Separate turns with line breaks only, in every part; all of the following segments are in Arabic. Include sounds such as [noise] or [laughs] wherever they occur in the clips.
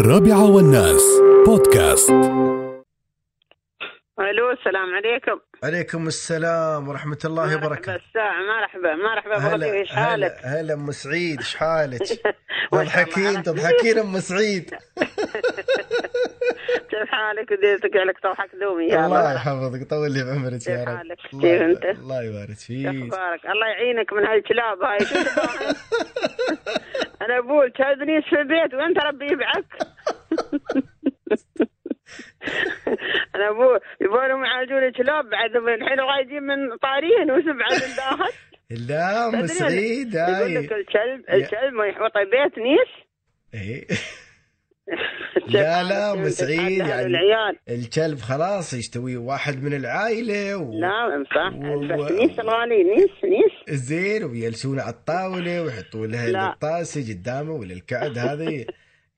الرابعة والناس بودكاست
الو السلام عليكم
عليكم السلام ورحمة الله
مرحبا
وبركاته
الساعة مرحبا مرحبا ابو غدير ايش حالك؟
هلا هلا ام سعيد ايش
[laughs]
حالك؟
والله ما
تضحكين
أعرف.
تضحكين ام سعيد
كيف حالك وديتك عليك طوحك دومي [laughs] يا
الله
الله
يحفظك طول لي بعمرك
كيف
يا رب
حالك؟
الله
كيف
يبارك-
أنت؟
الله يبارك فيك
اخبارك الله يعينك من هالكلاب هاي شو
[laughs]
تبغى؟ انا اقول تدنيس في البيت وانت ربي
[laughs]
يبعك انا اقول يبونهم يعالجون الكلاب بعد من الحين قاعدين من طارين وسبعه من
[laughs]
داخل
لا ام
تدري أنا-
سعيد
يقول
هاي
لك الكلب
يا-
الكلب ما يحوطه بيت نيس
إيه. لا،
[laughs]
لا، أم سعيد، يعني-
العيال
الكلب خلاص يشتوي واحد من العائلة و...
لا نعم، صح
و-
بس نيس الغالي نيس نيس
زين ويجلسون على الطاولة ويحطوا
لا.
لها الطاسة قدامه ولا
[laughs]
الكعد هذه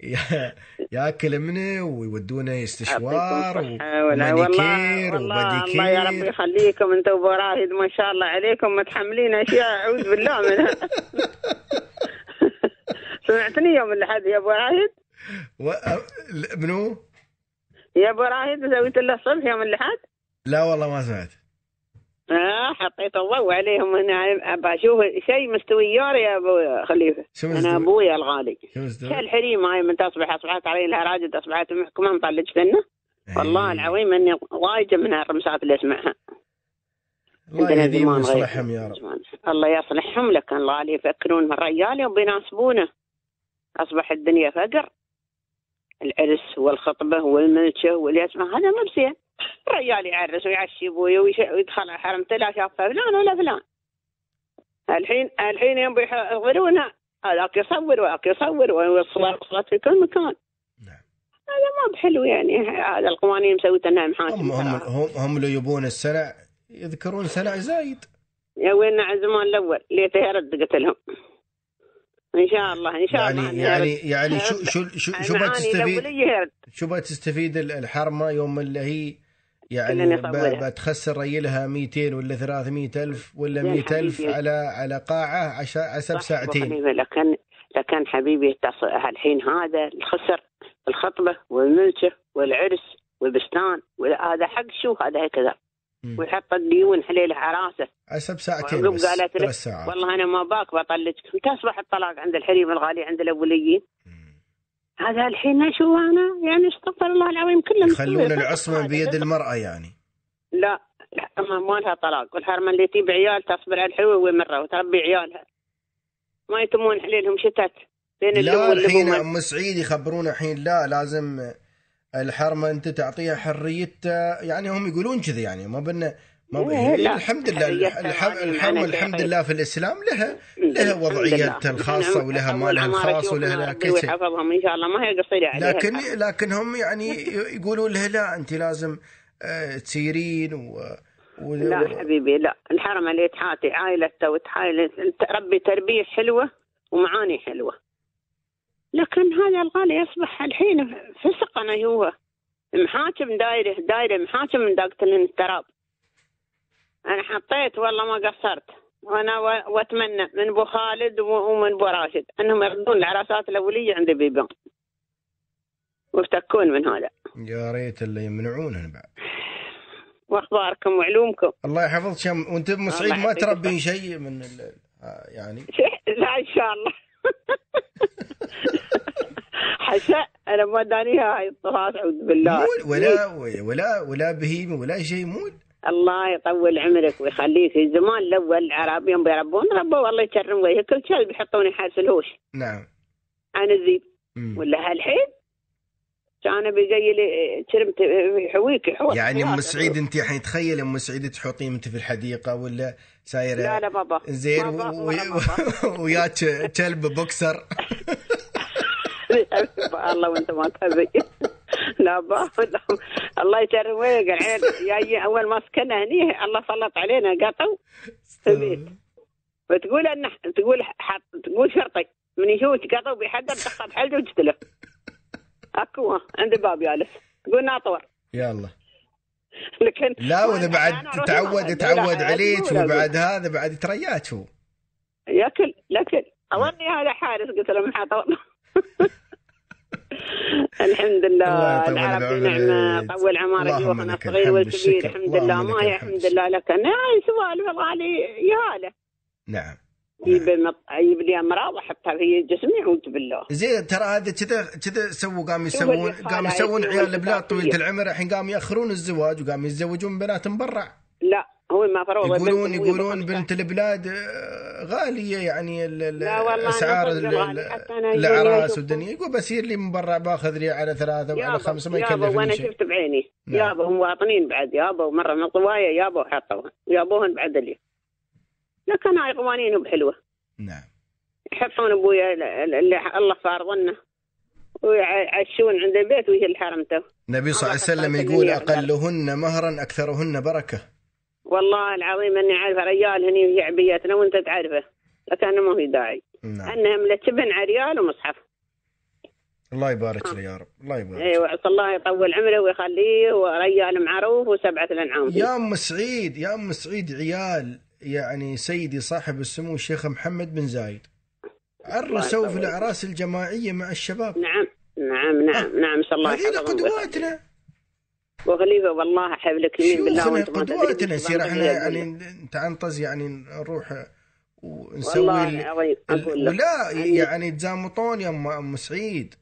يا- ياكل منه ويودونه استشوار
يعطيكم الصحة والعافية. والله
ومانيكير
والله الله يا رب
وباديكير
يخليكم انتم وبراهد ما شاء الله عليكم متحملين اشياء اعوذ بالله منها [laughs] سمعتني يوم الاحد يا ابو راهد
و... ل- منو؟
يا ابو راهد سويت له صبح يوم الاحد
لا والله ما سمعت
آه حطيت الضوء عليهم هنا ابى اشوف شيء مستويار يا ابو خليفه
شو
انا
مزدوج؟
ابويا الغالي
شو مزدوج؟
شو الحريم هاي من تصبح اصبحت علي لها راجد اصبحت محكمه مطلج فنه والله
إيه.
العظيم اني وايجه من هالرمسات اللي اسمعها
الله
عندنا
يهديهم
زمان غير.
ويصلحهم يا رب
الله يصلحهم لكن الله اللي يفكرون بالرجال وبيناسبونه اصبح الدنيا فقر العرس والخطبه والملشه واليسمه هذا مو بزين الرجال يعرس ويعشي ابوي ويش- ويدخل على حرمته لا شاف فلان ولا فلان الحين الحين يوم بيحضرونها هذاك يصور وهذاك يصور والصور صارت في كل مكان
نعم.
هذا ما بحلو يعني هذا القوانين مسويت انها
هم هم
محاكم
هم, هم اللي يبون السلع يذكرون سلع زايد
يا وين على الزمان الاول ليته يرد قلت لهم ان شاء الله ان شاء الله
يعني
أنا
يعني
يرد.
يعني شو
يرد.
شو شو, شو
المعاني
بتستفيد
الأولية يرد
شو بتستفيد ال- الحرمه يوم اللي هي
اللي
يعني ب-
نصورها.
بتخسر ريلها 200 ولا 300 الف ولا
يا
100 الف
حبيبي.
على على قاعه عشان حسب
صح، أبو
ساعتين
حنيفة، لكن لكن حبيبي تص- الحين هذا الخسر الخطبه والملشه والعرس والبستان هذا حق شو هذا هكذا
مم.
ويحط الديون حليله على راسه
حسب ساعتين
وعقب
بس
قالت لك،
ثلاث ساعات
والله انا ما باك بطلقك متى اصبح الطلاق عند الحريم الغالي عند الاوليين
مم.
هذا الحين شو انا يعني استغفر الله العظيم كله
يخلون العصمه
العصمه
بيد المراه يعني
لا الحرمة ما لها طلاق والحرمة اللي تجيب عيال تصبر على الحلوة ومرة وتربي عيالها ما يتمون حليلهم شتات بين اللب
لا الحين
واللبومة
ام سعيد يخبرونا الحين لا لازم الحرمه انت تعطيها حريتها يعني هم يقولون كذا يعني ما بنا ما ب...
إيه، لا.
الحمد لله
حريتها
الح-
يعني
الحرمه
معنى
الحمد
شيء.
لله في الاسلام لها
الحمد
لها
لله.
وضعيتها
أنا-
الخاصه ولها
أول
مالها
عمارة
الخاص
يشوفها
ولها لها
ربي
كل شيء
ويحفظهم ان شاء الله ما هي قصيرة عليها
لكن
الحرمة.
لكن هم
[laughs]
يعني ي- يقولوا لها لا انت لازم آه، تسيرين و... و...
لا حبيبي لا الحرمة اللي تحاتي عائلتها وتحايل تربي تربية حلوة ومعاني حلوة لكن هذا الغالي يصبح الحين فسقنا هو محاكم دايرة دايرة محاكم من داقة التراب أنا حطيت والله ما قصرت وأنا و- وأتمنى من أبو خالد و- ومن أبو راشد أنهم يردون العراسات الأولية عند بيبان ويفتكون من هذا
يا ريت اللي يمنعونها بعد
وأخباركم وعلومكم
الله يحفظك يا أم- وانت ام سعيد ما
يعطيك
تربين شيء من ال... آه، يعني
لا ان شاء الله حشاء انا ما دانيها هاي الطراس اعوذ بالله
مول ولا ولا ولا بهيمه ولا شيء مول
الله يطول عمرك ويخليك زمان الاول العرب يوم بيربون ربوا الله يكرم وجهه كل كلب يحطون يحارس الهوش
نعم
عن الذيب
مم.
ولا هالحين كان بيجي لي شرمت يحويك يحوك
يعني ام سعيد انت الحين تخيل ام سعيد تحطين انت في الحديقه ولا سايره
لا لا بابا
زين
بابا
و-
ولا بابا.
و- وياك كلب
[laughs]
بوكسر
الله وانت ما تبي لا بابا لا. الله يكرم وجهك العين جاي اول ما سكننا هني الله سلط علينا قطو تبي. وتقول انه تقول حط تقول شرطي من يشوفك قطو بيحدد تخطب حلقه وتقتله اكو ها، عند باب جالس تقول ناطور
يلا
لكن
لا واذا
أنا
بعد
أروح
تعود
أقعد.
تعود
لا،
عليك
أقول- أقول.
وبعد هذا بعد يترياك هو
ياكل لكن اظني هذا حارس قلت له محاط [laughs] الحمد
الله
لله
يطول
العرب
بعمرك.
نعمة طول عمرك
اللهم
يوحنا
لك
صغير وكبير
الحمد، الشكر.
الحمد لله
اللهم
ما
لك
هي
الحمد.
الحمد لله لك انا أي سؤال والغالي يا له
نعم
يجيب مط- يجيب لي امراض واحطها في جسمي اعوذ بالله
زين ترى هذا كذا كذا سووا قام يسوون
اللي
قام
صار
يسوون
هاي
عيال
السوء
البلاد طويله
الإنسانية.
العمر الحين قام ياخرون الزواج وقام يتزوجون بنات مبرع
لا هو ما فرض
يقولون يقولون بنت البلاد آه، غاليه يعني ال- ال-
لا والله أنا
اسعار
صدق
ال-
غالي.
ال-
حتى أنا يجوني
العراس
أشوفهم.
والدنيا يقول بسير لي مبرع باخذ لي على ثلاثه وعلى خمسه ما
وانا
يكلفني شيء
شفت بعيني
نعم.
يابا هم واطنين بعد يابا مره من طوايه يابا وحطوها يابوهن بعد لي لكن هاي قوانينهم حلوه
نعم
يحطون ابويا اللي الله فارضنا ويعشون عند البيت ويجي الحرم تو
النبي صلى الله عليه
الله
وسلم
يحفظك
يقول
جميعاً.
اقلهن مهرا اكثرهن بركه
والله العظيم اني عارفه رجال هني في شعبيتنا وانت تعرفه لكن ما في داعي
نعم
انها ملتبن عريال ومصحف
الله يبارك
آه.
له يا رب الله يبارك له.
ايوه عسى الله يطول عمره ويخليه ورجال معروف وسبعه الانعام
يا ام سعيد يا ام سعيد عيال يعني سيدي صاحب السمو الشيخ محمد بن زايد عرسوا في
يسلمك.
الاعراس الجماعيه مع الشباب
نعم نعم نعم نعم عسى الله
هذين
يحفظهم
قدواتنا
وخليفه والله حفلك يمين بالله
شيوخنا
وانت ما تدري
قدواتنا
بالضبط
يصير احنا
هي الدنيا.
يعني نتعنطز يعني نروح ونسوي
والله
ال-
العظيم اقول
ال-
لك
ولا
يعني-
يعني تزامطون يا ام ام سعيد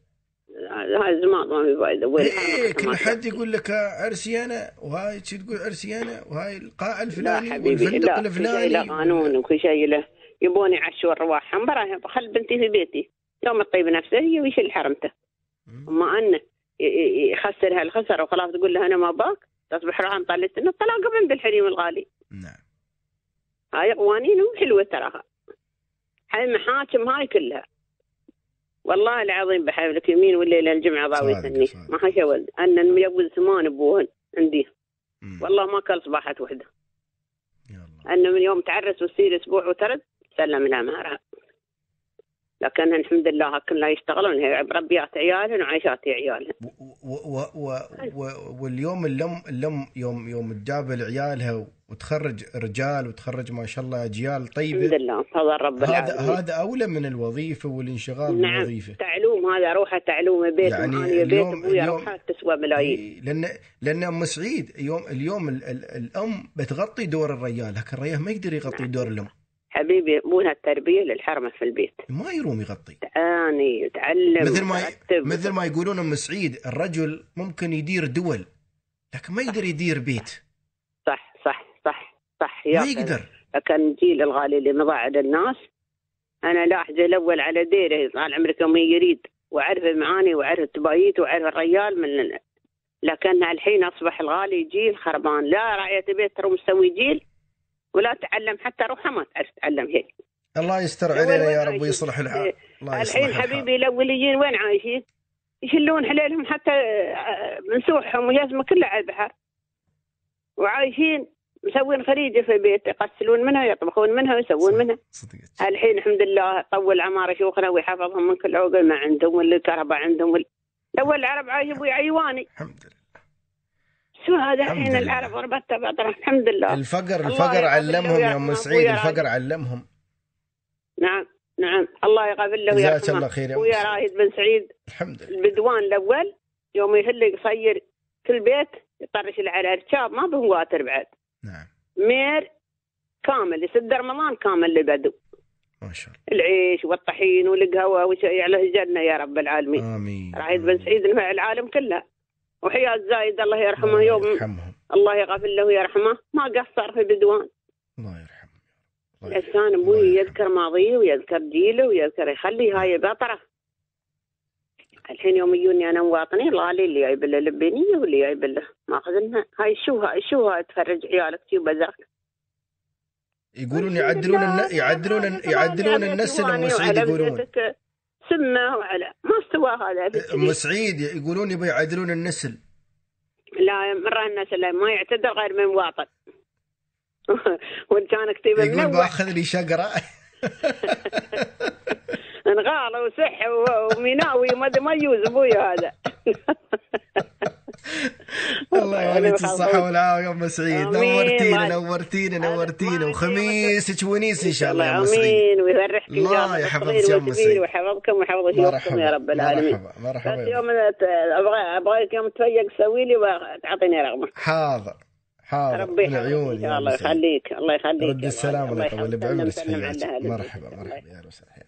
هاي زمان ما في فايده وين
ايه كل حد
يعني.
يقول لك عرسي انا وهاي شي تقول عرسي انا وهاي القاعه
لا
الفلاني
حبيبي
والفندق
لا في شيء له
الفلاني
قانون وفي شيء له يبون يعشون رواحهم براهم خل بنتي في بيتي يوم تطيب نفسها هي ويشيل حرمته اما انه ي- ي- يخسر هالخسر وخلاص تقول له انا ما باك تصبح روحها مطلت انه الطلاق بنت الحريم الغالي
نعم
هاي قوانينهم حلوه تراها هاي المحاكم هاي كلها والله العظيم بحبلك يمين والليله الجمعه ضاوي
صادق،
تني
صادق.
ما حشى ولد انا ميوز ثمان ابوهن عندي
مم.
والله ما كل صباحت وحده
يا الله
انه من يوم تعرس وتصير اسبوع وترد سلم لها مهرها لكن الحمد لله كلها يشتغلون هي بربيات عيالهم وعايشات عيالهم
و- و- و- و- و- واليوم اللم اللم يوم يوم تجاب لعيالها وتخرج رجال وتخرج ما شاء الله اجيال
الحمد
طيبه
لله فضل رب
إيه، هذا
العالمين
هذا اولى من الوظيفه والانشغال
نعم
بالوظيفه
تعلوم هذا روحه تعلومه بيت
يعني
معانية بيت
اليوم-
ابويا
اليوم-
روحه تسوى ملايين
إيه، لان لان ام سعيد يوم اليوم ال ال الام بتغطي دور الرجال لكن الرجال ما يقدر يغطي
نعم.
دور الام
حبيبي مو التربيه للحرمه في البيت
ما يروم يغطي
إيه، تعاني تعلم
مثل ما
ترتب.
مثل ما يقولون ام سعيد الرجل ممكن يدير دول لكن ما يقدر يدير بيت
صح صح صح صح
ما
يا أخي.
يقدر
لكن جيل الغالي اللي مضى على الناس انا لاحظه الاول على ديره طال عمرك يوم يريد واعرف معاني واعرف تبايت واعرف الريال من ال- لكن الحين اصبح الغالي جيل خربان لا رعيه بيت ترى مسوي جيل ولا تعلم حتى روحه ما تعرف تعلم هيك
الله يستر
أول
علينا
وين
يا رب
عايشين؟
ويصلح الحال
إيه.
الله يصلح
الحين
الحال.
حبيبي الاوليين وين عايشين؟ يشلون حليلهم حتى آه، منسوحهم وجزمه كلها على البحر وعايشين مسوين خريجه في البيت يقسلون منها يطبخون منها ويسوون منها
صدقت
الحين الحمد لله طول عمار شيوخنا ويحفظهم من كل عقل ما عندهم ولا الكهرباء عندهم ولا الاول العرب عايش ابوي عيواني
الحمد لله
شو هذا
الحمد
الحين
لله.
العرب غربتها بطرها الحمد لله
الفقر
الله
الفقر
يغفر له
علمهم يا ام
ويرحمه
سعيد
ويرعاه.
الفقر علمهم
نعم نعم الله يغفر له
جزاك
ويرحمه
الله خير يا أم
ويا
سعيد.
رايد بن سعيد
الحمد لله
البدوان الاول يوم يهل يصير كل بيت يطرش اللي على الركاب ما بهم واتر بعد
نعم
مير كامل يسد رمضان كامل لبدو
ما شاء
العيش والطحين والقهوه وشيء على الجنه يا رب العالمين
الله امين
رايد بن سعيد نفع العالم كله وحياة زايد الله يرحمه
الله
يوم
يرحمهم
الله يغفر له ويرحمه ما قصر في بدوان
الله يرحمهم الله يرحمهم.
الانسان ابوي
الله يرحمه.
يذكر ماضيه ويذكر جيله ويذكر يخلي هاي بطره الحين يوم يجوني انا مواطني غالي اللي جايب له لبنيه واللي جايب له ماخذ منها هاي شو هاي شو هاي تفرج عيالك شي بزرك
يقولون يعدلون الن- يعدلون الن- يعدلون الناس اللي ام سعيد يقولون
سمه وعلى ما استوى هذا في
ام سعيد يقولون يبي يعدلون النسل
لا مره الناس اللي ما يعتذر غير من [laughs] مواطن وان كان كتيبه
يقول
منوع
باخذ لي شقره
انغال [laughs] وسح و- وميناوي ما ما يجوز ابوي هذا
الله يوليك الصحة
والعافية.
والعافية أم سعيد
آمين.
نورتينا
الله-
نورتينا
هذا
نورتينا
معك.
وخميسك ونيس إن شاء الله يا أم سعيد
امين ويفرحك ان شاء
الله
الله
يحفظك
بالصغير
يا أم
والكبير
سعيد.
ويحفظكم ويحفظ شيوخكم يا رب العالمين
مرحبا
بس
مرحبا يا
يوم أنا ت- ابغى ابغاك يوم تفيق سوي لي وتعطيني رقمك
حاضر حاضر
ربي
من
يحفظك ان
عيوني آه، يا
شاء
أم
الله
سعيد.
يخليك الله يخليك
رد
يا
السلام
الله
الله يطول
يحفظك. سلم-
بعمرك
سلم على
سعيد
أهل البيت.
مرحبا
الله
مرحبا يا أهلا وسهلا